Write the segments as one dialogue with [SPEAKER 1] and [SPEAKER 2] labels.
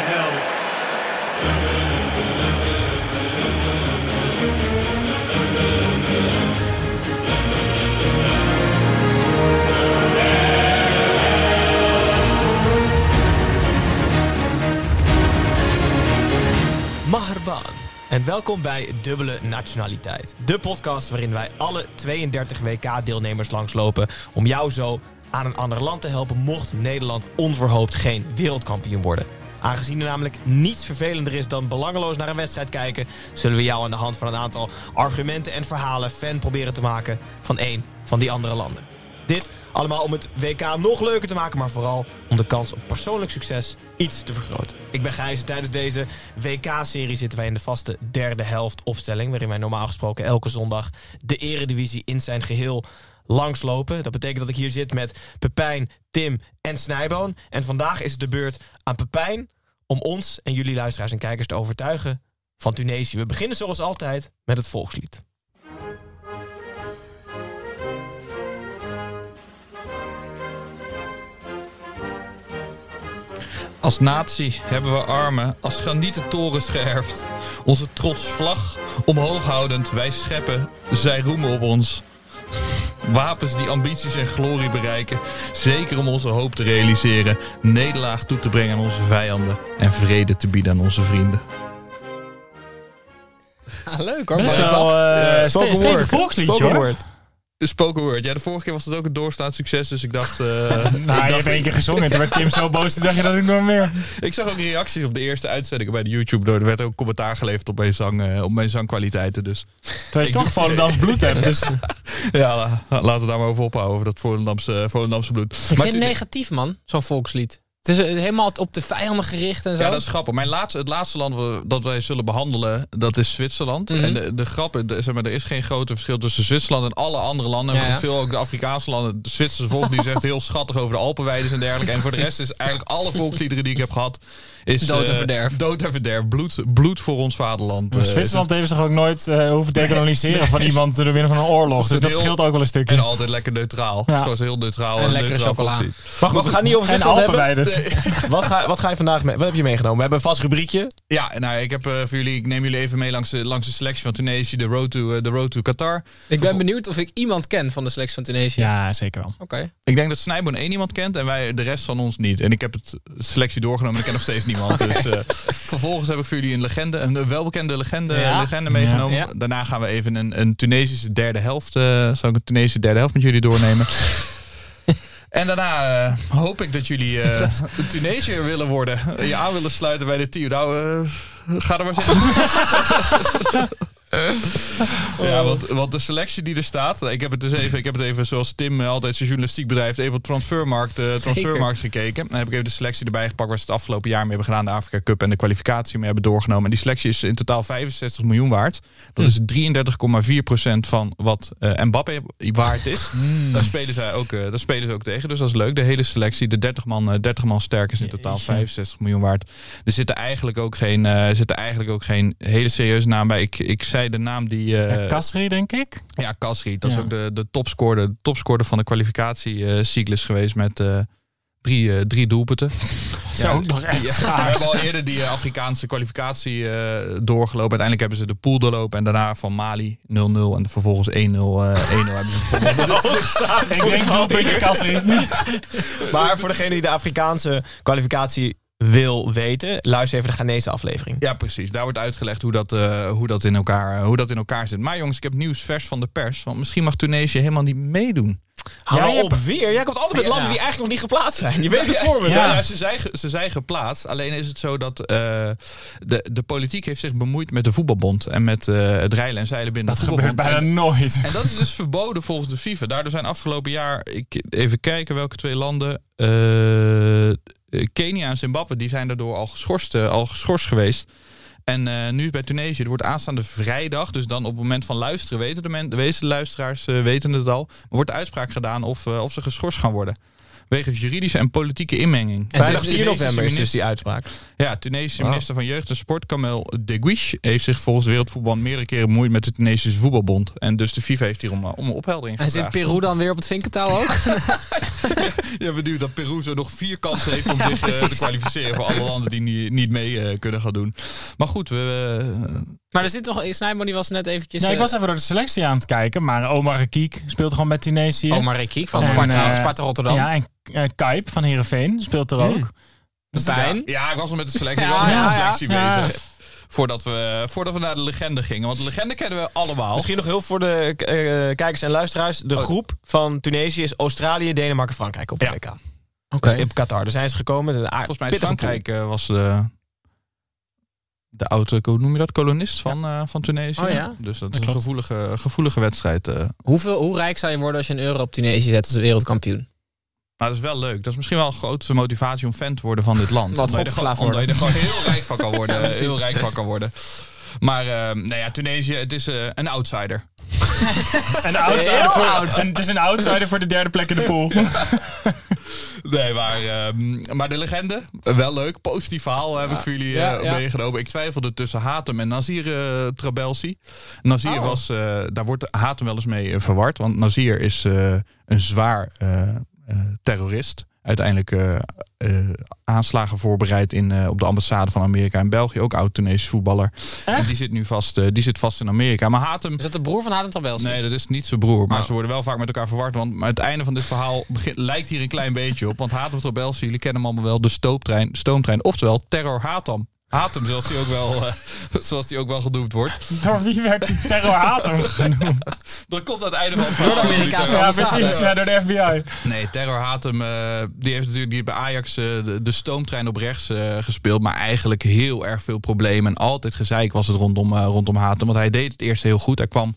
[SPEAKER 1] helft.
[SPEAKER 2] Maharban. En welkom bij Dubbele Nationaliteit. De podcast waarin wij alle 32 WK-deelnemers langslopen om jou zo aan een ander land te helpen mocht Nederland onverhoopt geen wereldkampioen worden. Aangezien er namelijk niets vervelender is dan belangeloos naar een wedstrijd kijken, zullen we jou aan de hand van een aantal argumenten en verhalen fan proberen te maken van één van die andere landen. Dit allemaal om het WK nog leuker te maken, maar vooral om de kans op persoonlijk succes iets te vergroten. Ik ben Gijs en tijdens deze WK-serie zitten wij in de vaste derde helft opstelling, waarin wij normaal gesproken elke zondag de eredivisie in zijn geheel langslopen. Dat betekent dat ik hier zit met Pepijn, Tim en Snijboon. En vandaag is het de beurt aan Pepijn om ons en jullie luisteraars en kijkers te overtuigen van Tunesië. We beginnen zoals altijd met het volkslied.
[SPEAKER 3] Als natie hebben we armen als granieten torens geërfd. Onze trots vlag omhoog houdend, wij scheppen, zij roemen op ons. Wapens die ambities en glorie bereiken, zeker om onze hoop te realiseren, nederlaag toe te brengen aan onze vijanden en vrede te bieden aan onze vrienden. Ah, leuk hoor.
[SPEAKER 4] Best wel eh, ste- stevig volksliedje hoor.
[SPEAKER 3] Spoken word. Ja, de vorige keer was het ook een doorstaand succes, dus ik dacht... eh,
[SPEAKER 4] Nou,
[SPEAKER 3] ik
[SPEAKER 4] je
[SPEAKER 3] dacht-
[SPEAKER 4] hebt één keer gezongen. Toen werd Tim zo boos, toen dacht je dat ik nog meer.
[SPEAKER 3] Ik zag ook reacties op de eerste uitzendingen bij de YouTube. door. Er werd ook commentaar geleverd op mijn, zang, eh, op mijn zangkwaliteiten. Dus
[SPEAKER 4] Terwijl
[SPEAKER 3] Ik
[SPEAKER 4] je toch
[SPEAKER 3] doe-
[SPEAKER 4] Volendams bloed hebt. Dus
[SPEAKER 3] ja, la- laten we daar maar over ophouden. Over dat Volendamse, eh, Volendamse bloed.
[SPEAKER 5] Ik
[SPEAKER 3] Maar
[SPEAKER 5] vind het
[SPEAKER 3] tu-
[SPEAKER 5] negatief, man, zo'n volkslied. Het is eh, helemaal op de vijanden gericht en zo.
[SPEAKER 3] ja, dat is grappig. Mijn laatste, het laatste land we- dat wij zullen behandelen, dat is Zwitserland.
[SPEAKER 5] Mhm.
[SPEAKER 3] En de, de grap, de- zeg maar, er is geen grote verschil tussen Zwitserland en alle andere landen.
[SPEAKER 5] Ja, ja.
[SPEAKER 3] En Veel ook de Afrikaanse landen. De Zwitserse volk die zegt heel schattig over de Alpenweiden en dergelijke. En voor de rest is eigenlijk alle volksliederen die ik heb gehad... Is,
[SPEAKER 5] Dood en
[SPEAKER 3] eh,
[SPEAKER 5] verderf.
[SPEAKER 3] Dood en verderf. Bloed, bloed voor ons vaderland. eh, is het.
[SPEAKER 4] Zwitserland heeft zich ook nooit eh, hoeven dekoloniseren van iemand door winnen van een oorlog. Dus
[SPEAKER 3] Stil.
[SPEAKER 4] dat scheelt ook wel een stukje.
[SPEAKER 3] En altijd lekker neutraal.
[SPEAKER 4] Ja.
[SPEAKER 3] Het is gewoon heel neutraal.
[SPEAKER 5] En
[SPEAKER 3] een
[SPEAKER 5] lekkere
[SPEAKER 3] neutraal
[SPEAKER 5] chocola.
[SPEAKER 3] volkslied.
[SPEAKER 2] Maar goed, we gaan niet over
[SPEAKER 4] En
[SPEAKER 2] Zwitserland hebben.
[SPEAKER 4] Alpenweiders.
[SPEAKER 2] Wat ga, wat ga je vandaag mee? Wat heb je meegenomen? We hebben een vast rubriekje.
[SPEAKER 3] Ja, nou, ik, heb, eh, voor jullie, ik neem jullie even mee langs de, langs de selectie van Tunesië, de road to, eh, de road to Qatar.
[SPEAKER 5] ik ben benieuwd of ik iemand ken van de selectie van Tunesië.
[SPEAKER 4] Ja, zeker wel.
[SPEAKER 5] Oké.
[SPEAKER 3] Ik denk dat Snijboon één iemand kent en wij de rest van ons niet. En ik heb het selectie doorgenomen en ik ken nog steeds niemand. Dus eh, vervolgens heb ik voor jullie een legende, een welbekende legende,
[SPEAKER 5] Ja.
[SPEAKER 3] legende meegenomen.
[SPEAKER 5] Ja.
[SPEAKER 3] Daarna gaan we even een, een Tunesische derde helft, eh zal ik een Tunesische derde helft met jullie doornemen. En daarna eh, hoop ik dat jullie eh Tunesiër willen worden. Je aan willen sluiten bij de team. Nou, eh, ga er maar zitten. Ja, want, want de selectie die er staat, ik heb het dus even, ik heb het even zoals Tim eh, altijd zijn journalistiek bedrijft, even op transfermarkt, eh, transfermarkt gekeken. En dan heb ik even de selectie erbij gepakt waar ze het afgelopen jaar mee hebben gedaan, de Afrika Cup en de kwalificatie mee hebben doorgenomen. En die selectie is in totaal 65 miljoen waard. Dat is 33,4% van wat eh Mbappé waard is. Daar, spelen zij ook, eh, daar spelen ze ook tegen, dus dat is leuk. De hele selectie, de 30 man, eh, 30 man sterk is in totaal 65 miljoen waard. Er zitten eigenlijk ook geen, eh, zitten eigenlijk ook geen hele serieuze naam bij. Ik, ik zei de naam die... eh,
[SPEAKER 4] Ja, Kasri, denk ik.
[SPEAKER 3] ja, Kasri. Dat is
[SPEAKER 4] Ja.
[SPEAKER 3] ook de, de topscorer, de topscorer van de kwalificatiecyclus geweest met eh, drie, eh, drie doelpunten.
[SPEAKER 4] Zo, ook nog echt
[SPEAKER 3] Ja, we
[SPEAKER 4] schaars.
[SPEAKER 3] hebben al eerder die eh, Afrikaanse kwalificatie eh, doorgelopen. Uiteindelijk hebben ze de pool doorlopen en daarna van Mali 0-0 en vervolgens 1-0 eh 1-0 hebben ze gewonnen.
[SPEAKER 4] Ik denk doelpuntje Kasri.
[SPEAKER 2] Maar voor degene die de Afrikaanse kwalificatie wil weten, luister even de Ghanese aflevering.
[SPEAKER 3] Ja, precies. Daar wordt uitgelegd hoe dat, eh, hoe, dat in elkaar, hoe dat in elkaar zit. Maar jongens, ik heb nieuws vers van de pers. Want misschien mag Tunesië helemaal niet meedoen
[SPEAKER 2] Hou
[SPEAKER 4] Jij
[SPEAKER 2] nou op
[SPEAKER 4] hebt-
[SPEAKER 2] weer. Jij komt altijd met
[SPEAKER 5] Ja.
[SPEAKER 2] landen die eigenlijk nog niet geplaatst zijn. Je weet het voor me.
[SPEAKER 3] Ja,
[SPEAKER 2] hè?
[SPEAKER 3] nou, ze, zijn, ge- ze zijn geplaatst. Alleen is het zo dat eh, de, de politiek heeft zich bemoeid met de voetbalbond. En met eh, het rijlen en zeilen binnen
[SPEAKER 4] Dat
[SPEAKER 3] de
[SPEAKER 4] gebeurt
[SPEAKER 3] voetbalbond.
[SPEAKER 4] bijna
[SPEAKER 3] en,
[SPEAKER 4] nooit.
[SPEAKER 3] en dat is dus verboden volgens de FIFA. Daardoor zijn afgelopen jaar, ik, even kijken welke twee landen... eh, Kenia en Zimbabwe, die zijn daardoor al geschorst, eh, al geschorst geweest. En eh, nu is bij Tunesië, er wordt aanstaande vrijdag, dus dan op het moment van luisteren weten de, men, de meeste luisteraars eh, weten het al, wordt de uitspraak gedaan of, eh, of ze geschorst gaan worden. Wegens juridische en politieke inmenging.
[SPEAKER 5] En
[SPEAKER 2] Vrijdag
[SPEAKER 5] ze-
[SPEAKER 2] 4 november is dus
[SPEAKER 3] minister,
[SPEAKER 2] die uitspraak.
[SPEAKER 3] ja, Tunesische
[SPEAKER 2] Wauw.
[SPEAKER 3] minister van Jeugd en Sport, Kamel Deguish, heeft zich volgens Wereldvoetbal meerdere keren bemoeid met de Tunesische voetbalbond. En dus de FIFA heeft hier om, eh, om een opheldering
[SPEAKER 5] En zit
[SPEAKER 3] gevraagd.
[SPEAKER 5] Peru dan weer op het vinkertouw ook?
[SPEAKER 3] Ja, benieuwd dat Peru zo nog vier kansen heeft om zich eh, te kwalificeren voor alle landen die niet, niet mee eh, kunnen gaan doen. Maar goed, we. eh,
[SPEAKER 5] maar er zit nog... Snijman die was net eventjes...
[SPEAKER 3] Nou,
[SPEAKER 4] Ja, ik
[SPEAKER 5] eh,
[SPEAKER 4] was even door de selectie aan het kijken, maar Omar Kiek speelt gewoon met Tunesië.
[SPEAKER 5] Omar Rekiek van
[SPEAKER 4] En,
[SPEAKER 5] Sparta,
[SPEAKER 4] eh,
[SPEAKER 5] Sparta Rotterdam.
[SPEAKER 4] Ja, en eh, Kuip van Herenveen speelt er ook. Dus dat-
[SPEAKER 5] Pijn.
[SPEAKER 3] ja, ik was al met de selectie,
[SPEAKER 5] Ja,
[SPEAKER 3] ik was al met de
[SPEAKER 5] ja,
[SPEAKER 3] selectie
[SPEAKER 4] ja.
[SPEAKER 3] bezig. Voordat we, voordat we naar de legende gingen. Want de legende kennen we allemaal.
[SPEAKER 2] Misschien nog heel voor de eh, kijkers en luisteraars.
[SPEAKER 3] Oh.
[SPEAKER 2] De groep van Tunesië is Australië, Denemarken, Frankrijk op het WK.
[SPEAKER 5] Oké.
[SPEAKER 2] Dus op Qatar. Daar zijn ze gekomen. De
[SPEAKER 3] Volgens mij is Frankrijk eh, was de, de oude, hoe noem je dat, kolonist van, eh, van Tunesië.
[SPEAKER 5] Oh ja?
[SPEAKER 3] Dus dat,
[SPEAKER 4] Dat
[SPEAKER 3] is een
[SPEAKER 4] klopt.
[SPEAKER 3] gevoelige, gevoelige wedstrijd. eh.
[SPEAKER 5] Hoeveel, hoe rijk zou je worden als je een euro op Tunesië zet als wereldkampioen?
[SPEAKER 3] Maar dat is wel leuk. Dat is misschien wel een grootste motivatie om fan te worden van dit land.
[SPEAKER 5] Wat
[SPEAKER 3] Omdat je er gewoon-
[SPEAKER 5] godverslaafd
[SPEAKER 3] Omdat je er gewoon heel rijk van kan worden. heel rijk van kan worden. Maar eh, nou ja, Tunesië, het is eh, een outsider.
[SPEAKER 4] Een outsider voor, en het is een outsider voor de derde plek in de pool.
[SPEAKER 3] Nee, maar, ehm, maar de legende, eh, wel leuk. Positief verhaal heb ik voor jullie eh,
[SPEAKER 5] Ja, ja.
[SPEAKER 3] meegenomen. Ik twijfelde tussen Hatem en Nazir eh, Trabelsi. Nazir
[SPEAKER 5] Oh.
[SPEAKER 3] was, eh, daar wordt Hatem wel eens mee eh, verward. Want Nazir is eh, een zwaar eh, eh, terrorist. Uiteindelijk eh, eh, aanslagen voorbereid in, eh, op de ambassade van Amerika en België. Ook oud-Tunesisch voetballer. En die zit nu vast, eh, die zit vast in Amerika. Maar Hatem
[SPEAKER 5] Is dat de broer van Hatem Tabels?
[SPEAKER 3] Nee, dat is niet zijn broer. Maar ze worden wel vaak met elkaar verward. Want het einde van dit verhaal begint, lijkt hier een klein beetje op. Want Hatem Trabelsi, jullie kennen hem allemaal wel. De stoomtrein, stoomtrein oftewel Terror Hatam. Hatem, zoals die ook wel, eh, zoals die ook wel genoemd wordt.
[SPEAKER 4] Door wie werd die terror Hatem genoemd?
[SPEAKER 3] Dat komt aan het einde van het
[SPEAKER 5] Door de Amerikaanse
[SPEAKER 4] Ja,
[SPEAKER 5] ambassade.
[SPEAKER 4] precies. Ja, door de FBI.
[SPEAKER 3] Nee, Terror Hatem, eh, die heeft natuurlijk die heeft bij Ajax eh, de, de stoomtrein op rechts eh, gespeeld. Maar eigenlijk heel erg veel problemen. En altijd gezeik was het rondom, eh, rondom Hatem. Want hij deed het eerst heel goed. Hij kwam,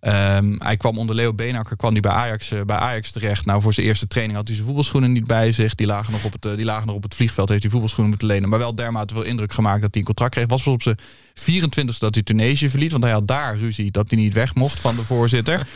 [SPEAKER 3] ehm, hij kwam onder Leo Beenakker kwam die bij, Ajax, eh, bij Ajax terecht. Nou, voor zijn eerste training had hij zijn voetbalschoenen niet bij zich. Die lagen nog op het, eh, die lagen nog op het vliegveld. Heeft hij voetbalschoenen moeten lenen. Maar wel dermate veel indruk gemaakt dat hij een contract kreeg. Was pas op zijn 24e dat hij Tunesië verliet. Want hij had daar ruzie dat hij niet weg mocht van de voorzitter.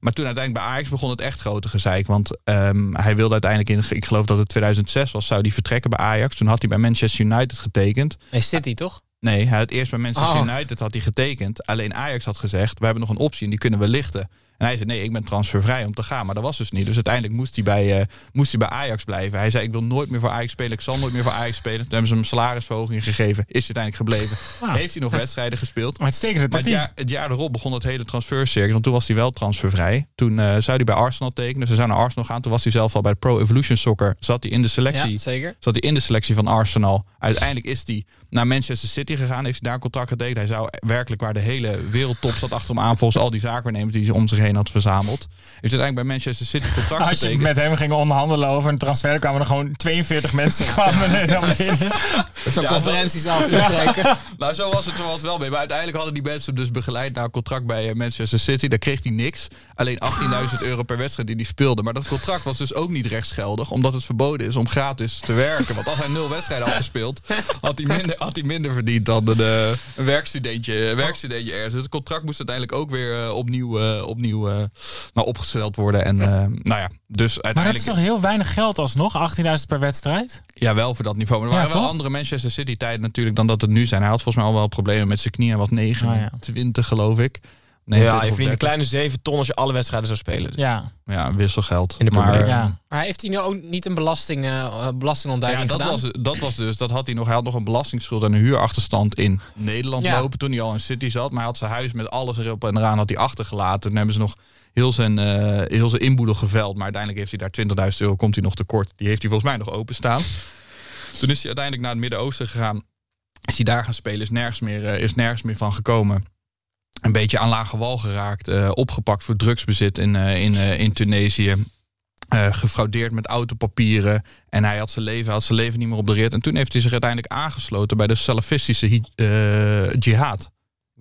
[SPEAKER 3] Maar toen uiteindelijk bij Ajax begon het echt grote gezeik. Want ehm, hij wilde uiteindelijk in, ik geloof dat het 2006 was, zou hij vertrekken bij Ajax. Toen had hij bij Manchester United getekend.
[SPEAKER 5] Nee, City toch?
[SPEAKER 3] Nee, hij had eerst bij Manchester
[SPEAKER 5] Oh.
[SPEAKER 3] United had hij getekend. Alleen Ajax had gezegd, we hebben nog een optie en die kunnen we lichten. En hij zei, nee, ik ben transfervrij om te gaan. Maar dat was dus niet. Dus uiteindelijk moest hij bij, eh, moest hij bij Ajax blijven. Hij zei, ik wil nooit meer voor Ajax spelen. Ik zal nooit meer voor Ajax spelen. Toen hebben ze hem een salarisverhoging gegeven. Is hij uiteindelijk gebleven. Heeft hij nog wedstrijden gespeeld.
[SPEAKER 4] Maar het stekende
[SPEAKER 3] Maar het
[SPEAKER 4] tactiek.
[SPEAKER 3] jaar, het jaar erop begon dat hele transfercircus. Want toen was hij wel transfervrij. Toen eh, zou hij bij Arsenal tekenen. Ze zou naar Arsenal gaan. Toen was hij zelf al bij Pro Evolution Soccer. Zat hij in de selectie.
[SPEAKER 5] Ja, zeker.
[SPEAKER 3] Zat hij in de selectie van Arsenal. Uiteindelijk is hij naar Manchester City gegaan. Heeft hij daar contact getekend. Hij zou werkelijk waar de hele wereldtop zat achter hem aan. Volgens al die zaakwaarnemers die ze om zich heen had verzameld. Heeft uiteindelijk bij Manchester City contract
[SPEAKER 4] Als je
[SPEAKER 3] getekend.
[SPEAKER 4] met hem ging onderhandelen over een transfer, kwamen er gewoon 42 mensen kwamen er dan binnen.
[SPEAKER 5] Zo'n
[SPEAKER 3] Ja,
[SPEAKER 5] conferentiezaal toespreken.
[SPEAKER 3] Nou, zo was het er wel eens wel mee. Maar uiteindelijk hadden die mensen hem dus begeleid naar een contract bij eh, Manchester City. Daar kreeg hij niks. Alleen 18.000 euro per wedstrijd die hij speelde. Maar dat contract was dus ook niet rechtsgeldig. Omdat het verboden is om gratis te werken. Want als hij nul wedstrijden had gespeeld, had hij minder, had hij minder verdiend dan een, eh, een werkstudentje, een werkstudentje ergens. Dus het contract moest uiteindelijk ook weer eh, opnieuw, eh, opnieuw eh, nou, opgesteld worden. En eh, nou ja, dus uiteindelijk...
[SPEAKER 4] Maar dat is toch heel weinig geld alsnog? 18.000 per wedstrijd?
[SPEAKER 3] Ja, wel voor dat niveau. Maar er
[SPEAKER 4] Ja,
[SPEAKER 3] waren wel
[SPEAKER 4] toch?
[SPEAKER 3] andere Manchester City tijden natuurlijk dan dat het nu zijn. Hij had volgens mij al wel problemen met zijn knieën.
[SPEAKER 4] Nou
[SPEAKER 3] Wat 29 geloof ik. Nee,
[SPEAKER 2] ja, je verdient een
[SPEAKER 3] 30.
[SPEAKER 2] kleine 7 ton als je alle wedstrijden zou spelen.
[SPEAKER 4] Ja.
[SPEAKER 3] Ja, wisselgeld.
[SPEAKER 2] In de
[SPEAKER 3] maar
[SPEAKER 2] Premier
[SPEAKER 4] ja.
[SPEAKER 5] Maar heeft hij nu ook niet een belasting, eh,
[SPEAKER 3] ja,
[SPEAKER 5] belastingontduiking
[SPEAKER 3] dat,
[SPEAKER 5] gedaan?
[SPEAKER 3] was, dat was dus, dat had hij nog. Hij had nog een belastingsschuld en een huurachterstand in Nederland
[SPEAKER 5] Ja.
[SPEAKER 3] lopen. Toen hij al in City zat. Maar hij had zijn huis met alles erop en eraan had hij achtergelaten. Toen hebben ze nog heel zijn, eh, heel zijn inboedel geveld. Maar uiteindelijk heeft hij daar 20.000 euro. Komt hij nog tekort. Die heeft hij volgens mij nog openstaan. Toen is hij uiteindelijk naar het Midden-Oosten gegaan. Is hij daar gaan spelen, is nergens meer, eh, is nergens meer van gekomen. Een beetje aan lage wal geraakt. eh, opgepakt voor drugsbezit in, eh, in, eh, in Tunesië. eh, gefraudeerd met autopapieren. En hij had zijn leven, hij had zijn leven niet meer op de rit. En toen heeft hij zich uiteindelijk aangesloten bij de salafistische hi- eh, jihad.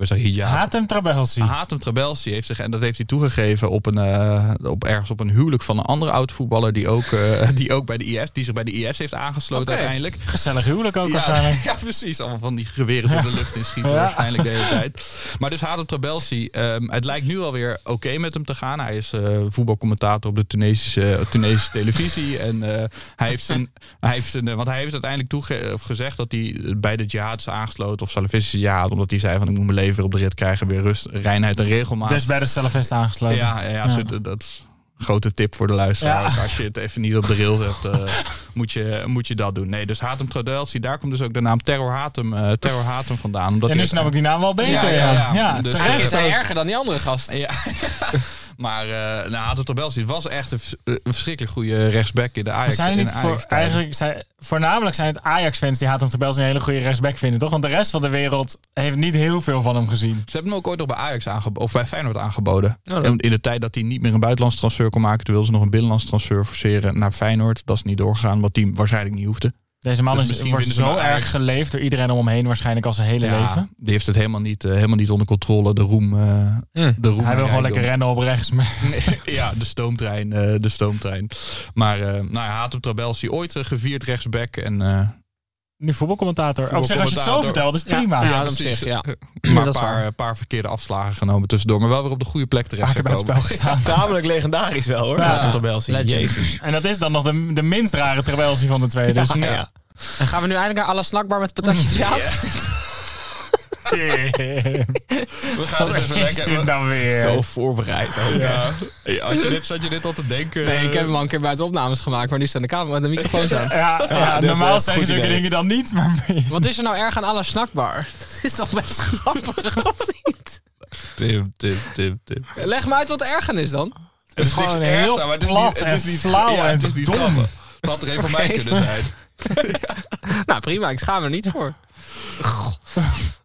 [SPEAKER 3] Ik wil zeggen hijab.
[SPEAKER 4] Hatem Trabelsi.
[SPEAKER 3] Hatem Trabelsi heeft zich, en dat heeft hij toegegeven op een, eh, op, ergens op een huwelijk van een andere oud-voetballer die, ook, eh, die ook bij de IS, die zich bij de IS heeft aangesloten
[SPEAKER 4] Oké.
[SPEAKER 3] uiteindelijk.
[SPEAKER 4] Gezellig huwelijk ook
[SPEAKER 3] Ja,
[SPEAKER 4] waarschijnlijk.
[SPEAKER 3] ja, precies. Allemaal van die geweren zo de lucht in schieten
[SPEAKER 4] Ja.
[SPEAKER 3] waarschijnlijk de hele tijd. Maar dus Hatem Trabelsi, ehm, het lijkt nu alweer oké met hem te gaan. Hij is eh, voetbalcommentator op de Tunesische, eh, Tunesische televisie. En eh, hij heeft zijn, hij heeft zijn, eh, want hij heeft uiteindelijk toege- of gezegd dat hij bij de jihad is aangesloten of salafistische jihad. Omdat hij zei van ik moet mijn leven weer op de rit krijgen, weer rust, reinheid en regelmaat.
[SPEAKER 4] Dus bij de Salafist aangesloten.
[SPEAKER 3] Ja, ja, ja, zo- dat- dat is een grote tip voor de luisteraars. Als je het even niet op de rails hebt, eh, moet, je, moet je dat doen. Nee, dus Hatem Tradelsi, daar komt dus ook de naam Terror Hatem, eh, Terror Hatem vandaan. Omdat
[SPEAKER 4] En
[SPEAKER 3] hij-
[SPEAKER 4] nu snap ik die naam wel beter.
[SPEAKER 3] Ja,
[SPEAKER 4] Ja,
[SPEAKER 3] ja,
[SPEAKER 4] ja,
[SPEAKER 3] ja. Dus-
[SPEAKER 5] Eigenlijk is
[SPEAKER 4] terecht.
[SPEAKER 5] hij erger dan die andere gast.
[SPEAKER 3] Ja. maar eh nou, Hatem Tradelsi was echt een, vers- eh, een verschrikkelijk goede rechtsback in de
[SPEAKER 4] Maar
[SPEAKER 3] Ajax.
[SPEAKER 4] zijn er
[SPEAKER 3] in
[SPEAKER 4] niet
[SPEAKER 3] de
[SPEAKER 4] voor,
[SPEAKER 3] Ajax-tijd.
[SPEAKER 4] eigenlijk zijn, voornamelijk zijn het Ajax-fans die Hatem Trabels een hele goede rechtsback vinden, toch? Want de rest van de wereld heeft niet heel veel van hem gezien.
[SPEAKER 3] Ze hebben hem ook ooit nog bij Ajax aangeboden, of bij Feyenoord aangeboden.
[SPEAKER 4] Oh,
[SPEAKER 5] dat-
[SPEAKER 3] En In de tijd dat hij niet meer een buitenlands transfer kon maken, toen wilden ze nog een binnenlands transfer forceren naar Feyenoord. Dat is niet doorgegaan, wat die waarschijnlijk niet hoefde.
[SPEAKER 4] Deze man
[SPEAKER 3] Dus
[SPEAKER 4] is,
[SPEAKER 3] misschien
[SPEAKER 4] wordt
[SPEAKER 3] vinden ze
[SPEAKER 4] zo
[SPEAKER 3] hem
[SPEAKER 4] erg
[SPEAKER 3] Ajax-
[SPEAKER 4] geleefd door iedereen om hem heen, waarschijnlijk al zijn hele leven.
[SPEAKER 3] Die heeft het helemaal niet, eh, helemaal niet onder controle, de roem. eh,
[SPEAKER 5] Hm.
[SPEAKER 3] de roem
[SPEAKER 4] Hij wil gewoon lekker
[SPEAKER 3] rijkdom.
[SPEAKER 4] rennen op rechts. met-
[SPEAKER 3] ja, de stoomtrein. eh, de stoomtrein. Maar eh nou ja, haat op Trabelsi ooit eh, gevierd rechtsback. En, eh,
[SPEAKER 4] Nu voetbalcommentator. Op zich, als je het zo
[SPEAKER 3] Voetbalcommentator.
[SPEAKER 4] vertelt, is prima.
[SPEAKER 5] Ja, op
[SPEAKER 3] precies.
[SPEAKER 5] zich, ja.
[SPEAKER 3] maar een
[SPEAKER 5] is
[SPEAKER 3] paar,
[SPEAKER 5] waar. Ah,
[SPEAKER 3] eh, paar verkeerde afslagen genomen tussendoor. Maar wel weer op de goede plek terecht
[SPEAKER 4] Vaker bij het spel
[SPEAKER 3] gekomen.
[SPEAKER 4] gestaan.
[SPEAKER 2] Tamelijk legendarisch wel hoor.
[SPEAKER 4] Ja.
[SPEAKER 2] Ja. Trabelsi.
[SPEAKER 5] Legend.
[SPEAKER 2] Jezus.
[SPEAKER 4] dus- En dat is dan nog de, de minst rare Trabelsi van de twee. Dus
[SPEAKER 2] Ja.
[SPEAKER 5] En gaan we nu eindelijk naar alle snakbar met patatje Jihad?
[SPEAKER 3] We gaan het even
[SPEAKER 4] is dit
[SPEAKER 3] lekker...
[SPEAKER 4] nou weer?
[SPEAKER 2] Zo voorbereid. ook.
[SPEAKER 3] Ja. Ja, had, je dit, had je dit al te denken?
[SPEAKER 5] Nee, ik heb hem al een keer buiten opnames gemaakt, maar nu staan de camera met de microfoons aan.
[SPEAKER 4] Ja, ja,
[SPEAKER 2] dat is wel
[SPEAKER 4] normaal
[SPEAKER 2] een
[SPEAKER 4] zeggen
[SPEAKER 2] goed
[SPEAKER 4] zulke
[SPEAKER 2] idee.
[SPEAKER 4] dingen dan niet, maar
[SPEAKER 5] Wat is er nou erg aan alle snakbar? Het is toch best grappig of niet?
[SPEAKER 3] Tim, Tim, Tim, Tim.
[SPEAKER 5] Leg me uit wat er erg aan is dan.
[SPEAKER 3] Het is
[SPEAKER 4] gewoon
[SPEAKER 3] niks
[SPEAKER 4] heel
[SPEAKER 3] ergs aan, maar het is
[SPEAKER 4] plat
[SPEAKER 3] niet, het is
[SPEAKER 4] en
[SPEAKER 3] niet,
[SPEAKER 4] flauw
[SPEAKER 3] ja, het is
[SPEAKER 4] en
[SPEAKER 3] niet
[SPEAKER 4] dom.
[SPEAKER 3] grappig. Het had er even voor mij
[SPEAKER 5] Oké.
[SPEAKER 3] kunnen zijn.
[SPEAKER 5] Nou prima, ik schaam er niet voor.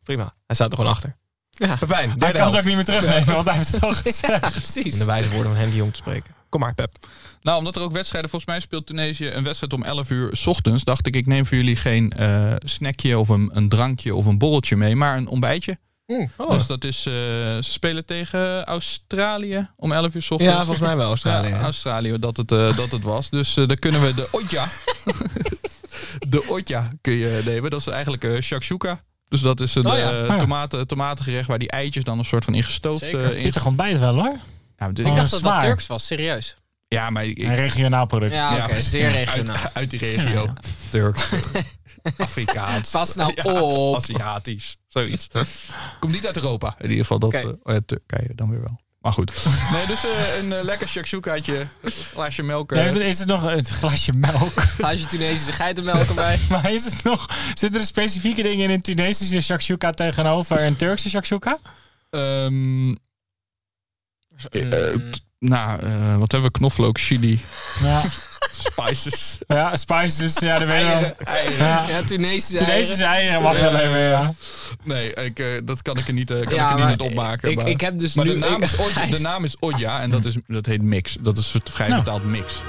[SPEAKER 2] Prima. Hij staat er gewoon achter.
[SPEAKER 5] Ja.
[SPEAKER 2] Pepijn, derde
[SPEAKER 4] hij kan het
[SPEAKER 2] helft.
[SPEAKER 4] ook niet meer terugnemen, want hij heeft het al gezegd.
[SPEAKER 2] In
[SPEAKER 5] Precies.
[SPEAKER 2] de wijze woorden van Henry Jong te spreken. Kom maar, Pep.
[SPEAKER 3] Nou, omdat er ook wedstrijden... Volgens mij speelt Tunesië een wedstrijd om 11 uur 's ochtends. Dacht ik, ik neem voor jullie geen eh, snackje of een, een drankje of een borreltje mee. Maar een ontbijtje.
[SPEAKER 2] Oh.
[SPEAKER 3] Dus dat is... eh, ze spelen tegen Australië om 11 uur 's ochtends.
[SPEAKER 2] ja, volgens mij wel Australië.
[SPEAKER 3] Ja, Australië, dat het, eh, dat het was. Dus eh daar kunnen we de Otja... de Otja kun je nemen. Dat is eigenlijk eh shakshuka. Dus dat is een
[SPEAKER 5] Oh ja.
[SPEAKER 3] eh,
[SPEAKER 4] Ah ja.
[SPEAKER 3] tomaten, tomatengerecht waar die eitjes dan een soort van ingestoofd...
[SPEAKER 5] Zeker. Oh.
[SPEAKER 3] eh, in...
[SPEAKER 4] Pittig ontbijt wel hoor.
[SPEAKER 3] Ja, maar dit-
[SPEAKER 5] Ik dacht dat dat
[SPEAKER 4] Zwaar.
[SPEAKER 5] Turks was, serieus.
[SPEAKER 3] ja, maar ik,
[SPEAKER 4] Een regionaal product.
[SPEAKER 5] Ja, oké, zeer regionaal.
[SPEAKER 3] Uit, uit die regio. Turks. Afrikaans.
[SPEAKER 5] Pas nou
[SPEAKER 3] Ja,
[SPEAKER 5] op.
[SPEAKER 3] Aziatisch. Zoiets. Komt niet uit Europa. In ieder geval dat.
[SPEAKER 5] Oké.
[SPEAKER 3] eh, oh ja, Turkije dan weer wel. Maar goed. Nee, dus eh, een eh, lekker shakshukaatje. Een glaasje melk. eh.
[SPEAKER 4] Heeft- Is het nog het glasje melk?
[SPEAKER 5] Als je Tunesische geitenmelk erbij.
[SPEAKER 4] Maar is het nog, zitten er specifieke dingen in een Tunesische shakshuka tegenover een Turkse shakshuka?
[SPEAKER 3] Ehm, eh, eh, t- nou, eh, wat hebben we? Knoflook, chili,
[SPEAKER 4] Ja,
[SPEAKER 3] spices,
[SPEAKER 4] ja spices, ja, dat weet je wel.
[SPEAKER 5] Eieren, eieren.
[SPEAKER 4] Ja.
[SPEAKER 5] Ja, Tunesische eieren.
[SPEAKER 4] Tunesische eieren mag wel even, ja.
[SPEAKER 3] Nee, ik, eh, dat kan ik er niet, eh, kan
[SPEAKER 5] Ja,
[SPEAKER 3] ik er niet
[SPEAKER 5] maar
[SPEAKER 3] uit opmaken.
[SPEAKER 5] ik-
[SPEAKER 3] maar
[SPEAKER 5] ik heb dus
[SPEAKER 3] maar
[SPEAKER 5] nu-
[SPEAKER 3] de, naam
[SPEAKER 5] ik-
[SPEAKER 3] is Odja, de naam is Odja en dat, is, dat heet mix. Dat is vrij vertaald mix.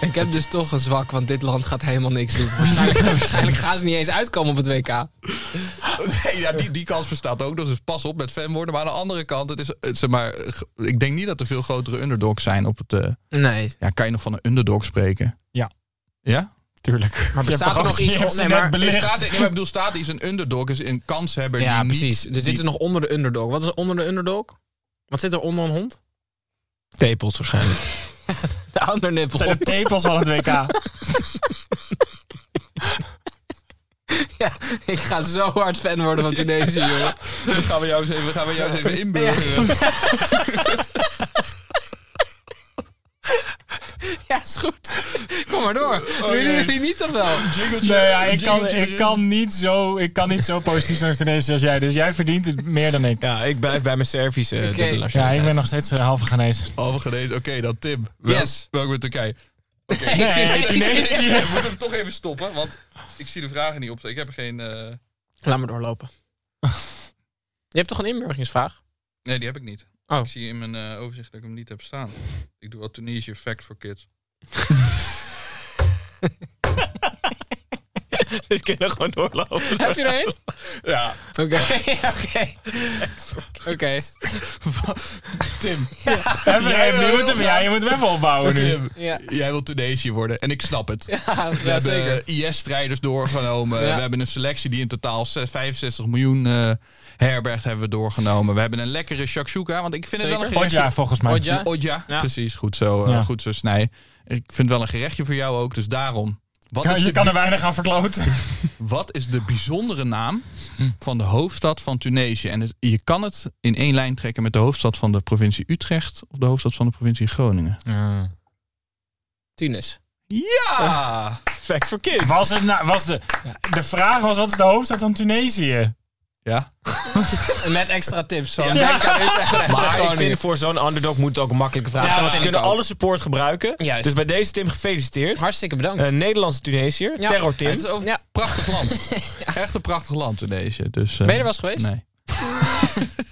[SPEAKER 5] Ik heb dus toch een zwak, want dit land gaat helemaal niks doen. Waarschijnlijk, waarschijnlijk gaan ze niet eens uitkomen op het WK.
[SPEAKER 3] Nee, ja, die, die kans bestaat ook. nog, Dus pas op met fan worden. Maar aan de andere kant, het is, het, zeg maar, g- ik denk niet dat er veel grotere underdogs zijn op het. eh,
[SPEAKER 5] Nee.
[SPEAKER 3] ja, kan je nog van een underdog spreken?
[SPEAKER 4] Ja.
[SPEAKER 3] Ja?
[SPEAKER 4] Tuurlijk. Maar
[SPEAKER 5] bestaat er nog iets op- nee, maar
[SPEAKER 3] Nee, staat, nee, maar ik bedoel, staat is een underdog, is een kanshebber
[SPEAKER 5] Ja,
[SPEAKER 3] die
[SPEAKER 5] precies.
[SPEAKER 3] niet...
[SPEAKER 5] Dus dit
[SPEAKER 3] die-
[SPEAKER 5] is nog onder de underdog. Wat is onder de underdog? Wat zit er onder een hond?
[SPEAKER 2] Tepels waarschijnlijk.
[SPEAKER 5] De undernippel.
[SPEAKER 4] de tepels van het WK.
[SPEAKER 5] Ja, ik ga zo hard fan worden van Tunesië, jongen.
[SPEAKER 3] Gaan we jou eens even, gaan we jou eens even inburgeren.
[SPEAKER 5] Ja, is goed. Kom maar door. Willen jullie niet toch wel?
[SPEAKER 4] Nee, ja, ik, kan, ik, kan niet zo, ik kan niet zo positief zijn over Tunesië als jij. Dus jij verdient het meer dan ik.
[SPEAKER 2] Ja, ik blijf bij mijn Servische eh,
[SPEAKER 5] Oké.
[SPEAKER 2] dubbele
[SPEAKER 4] Ja,
[SPEAKER 2] nationaliteit.
[SPEAKER 4] ik ben nog steeds eh, halve Ghanese.
[SPEAKER 3] Halve genezen. Oké, dan Tim. Wel,
[SPEAKER 5] Yes.
[SPEAKER 3] Welkom in Turkije.
[SPEAKER 4] Nee,
[SPEAKER 5] Tunesië.
[SPEAKER 4] Tunesië.
[SPEAKER 3] Ik moet hem toch even stoppen, want ik zie de vragen niet op. Ik heb geen... eh,
[SPEAKER 5] Laat me doorlopen. Je hebt toch een inburgingsvraag?
[SPEAKER 3] Nee, die heb ik niet.
[SPEAKER 5] Oh.
[SPEAKER 3] Ik zie in mijn eh, overzicht dat ik hem niet heb staan. Ik doe al Tunesië Fact for Kids.
[SPEAKER 2] Dit kunnen gewoon doorlopen.
[SPEAKER 5] Heb je er een?
[SPEAKER 3] Ja,
[SPEAKER 5] Oké, oké. Oké.
[SPEAKER 3] Tim.
[SPEAKER 4] Even,
[SPEAKER 3] Jij
[SPEAKER 4] even, je,
[SPEAKER 3] wil
[SPEAKER 4] moet hem, ja, je moet hem even opbouwen nu.
[SPEAKER 3] Tim,
[SPEAKER 5] Ja.
[SPEAKER 3] jij wil Tunesië worden en ik snap het.
[SPEAKER 5] Ja,
[SPEAKER 3] We
[SPEAKER 5] ja, zeker.
[SPEAKER 3] hebben IS-strijders doorgenomen.
[SPEAKER 5] Ja.
[SPEAKER 3] We hebben een selectie die in totaal zes- 65 miljoen eh herbergt hebben we doorgenomen. We hebben een lekkere shakshuka, want ik vind het wel een
[SPEAKER 4] Odja, volgens mij.
[SPEAKER 5] Odja.
[SPEAKER 3] gerechtje. Odja,
[SPEAKER 4] Ja.
[SPEAKER 3] precies. Goed zo, eh,
[SPEAKER 4] Ja.
[SPEAKER 3] goed zo snij. Ik vind het wel een gerechtje voor jou ook, dus daarom. Wat,
[SPEAKER 4] Ja,
[SPEAKER 3] is,
[SPEAKER 4] je
[SPEAKER 3] de
[SPEAKER 4] kan
[SPEAKER 3] bi-
[SPEAKER 4] er weinig aan verkloten.
[SPEAKER 3] wat is de bijzondere naam
[SPEAKER 4] Hm.
[SPEAKER 3] van de hoofdstad van Tunesië? En het- je kan het in één lijn trekken met de hoofdstad van de provincie Utrecht of de hoofdstad van de provincie Groningen.
[SPEAKER 5] Tunis.
[SPEAKER 3] Ja!
[SPEAKER 2] Facts for kids.
[SPEAKER 4] Was het nou, was de, de vraag was, wat is de hoofdstad van Tunesië?
[SPEAKER 3] Ja.
[SPEAKER 5] Met extra tips. Zo.
[SPEAKER 3] Ja.
[SPEAKER 5] Denk aan Utrecht en FC
[SPEAKER 2] Maar ik
[SPEAKER 5] Groningen.
[SPEAKER 2] vind voor zo'n underdog moet het ook een makkelijke vraag
[SPEAKER 5] Ja,
[SPEAKER 2] zijn.
[SPEAKER 5] dat
[SPEAKER 2] Want ze kunnen
[SPEAKER 5] vind ik ook.
[SPEAKER 2] alle support gebruiken.
[SPEAKER 5] Juist.
[SPEAKER 2] Dus bij deze Tim gefeliciteerd.
[SPEAKER 5] Hartstikke bedankt.
[SPEAKER 2] Eh, Nederlandse Tunesiër.
[SPEAKER 5] Ja.
[SPEAKER 2] Terror
[SPEAKER 3] Het
[SPEAKER 2] Tim.
[SPEAKER 3] is ook een
[SPEAKER 5] Ja.
[SPEAKER 3] prachtig land. Echt een prachtig land Tunesië. Dus, eh,
[SPEAKER 5] ben je er wel eens geweest?
[SPEAKER 3] Nee.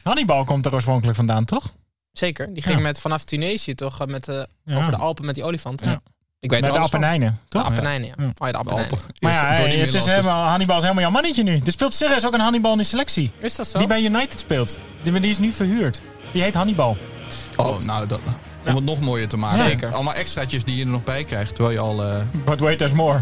[SPEAKER 4] Hannibal komt er oorspronkelijk vandaan, toch?
[SPEAKER 5] Zeker. Die ging
[SPEAKER 4] Ja.
[SPEAKER 5] met, vanaf Tunesië toch? eh, Met, eh,
[SPEAKER 4] Ja.
[SPEAKER 5] Over de Alpen met die olifant.
[SPEAKER 4] Ja.
[SPEAKER 5] Ik weet
[SPEAKER 4] Bij
[SPEAKER 5] er
[SPEAKER 4] de
[SPEAKER 5] alles van.
[SPEAKER 4] Appenijnen, toch?
[SPEAKER 5] De Appenijnen, ja. Oh ja, de Appenijnen.
[SPEAKER 3] Alpen.
[SPEAKER 4] Maar
[SPEAKER 3] Eerst
[SPEAKER 4] ja,
[SPEAKER 3] door
[SPEAKER 4] hey,
[SPEAKER 3] die
[SPEAKER 4] het is
[SPEAKER 3] Middellandse-
[SPEAKER 4] helemaal, Hannibal is helemaal jouw mannetje nu. Er speelt serieus ook een Hannibal in de selectie.
[SPEAKER 5] Is dat zo?
[SPEAKER 4] Die bij United speelt. Die, die is nu verhuurd. Die heet Hannibal.
[SPEAKER 3] Oh, nou, dat, om het nog mooier te maken.
[SPEAKER 5] Zeker.
[SPEAKER 3] Allemaal extraatjes die je er nog bij krijgt. Terwijl je al... eh,
[SPEAKER 4] But wait, there's more.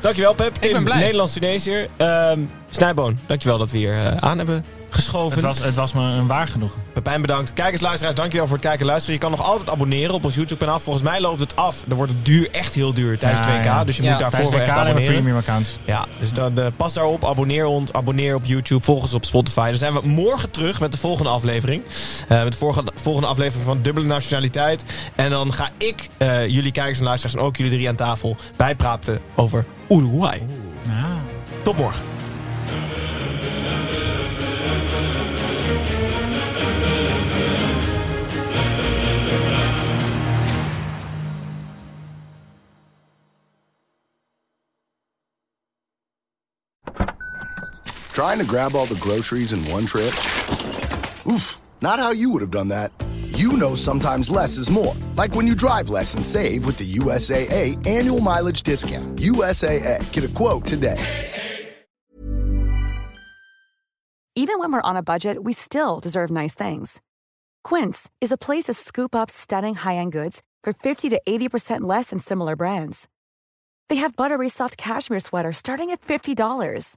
[SPEAKER 2] Dankjewel Pep. Tim,
[SPEAKER 5] ben blij.
[SPEAKER 2] Nederlands Tunesiër. Ehm Snijboon, dankjewel dat we hier eh, aan hebben geschoven.
[SPEAKER 4] het, was, het was me een waar genoegen.
[SPEAKER 2] Pepijn bedankt. Kijkers, luisteraars, dankjewel voor het kijken en luisteren. Je kan nog altijd abonneren op ons YouTube-kanaal. Volgens mij loopt het af. Dan wordt het duur, echt heel duur tijdens
[SPEAKER 4] Ja,
[SPEAKER 2] 2K.
[SPEAKER 4] ja.
[SPEAKER 2] Dus je
[SPEAKER 5] Ja,
[SPEAKER 2] moet daarvoor
[SPEAKER 4] Tijdens
[SPEAKER 2] wel
[SPEAKER 4] de
[SPEAKER 2] echt
[SPEAKER 4] kale en
[SPEAKER 2] abonneren.
[SPEAKER 4] premium accounts.
[SPEAKER 2] Ja, dus dan, eh, pas daarop. Abonneer ons. Abonneer op YouTube. Volg ons op Spotify. Dan zijn we morgen terug met de volgende aflevering. Eh, met de vorige- volgende aflevering van Dubbele Nationaliteit. En dan ga ik eh, jullie kijkers en luisteraars en ook jullie drie aan tafel bijpraten over Uruguay.
[SPEAKER 4] Ja.
[SPEAKER 2] Tot morgen.
[SPEAKER 6] Trying to grab all the groceries in one trip? Oof, not how you would have done that. You know sometimes less is more. Like when you drive less and save with the USAA annual mileage discount. USAA, get a quote today.
[SPEAKER 7] Even when we're on a budget, we still deserve nice things. Quince is a place to scoop up stunning high-end goods for 50 to 80% less than similar brands. They have buttery soft cashmere sweaters starting at $50,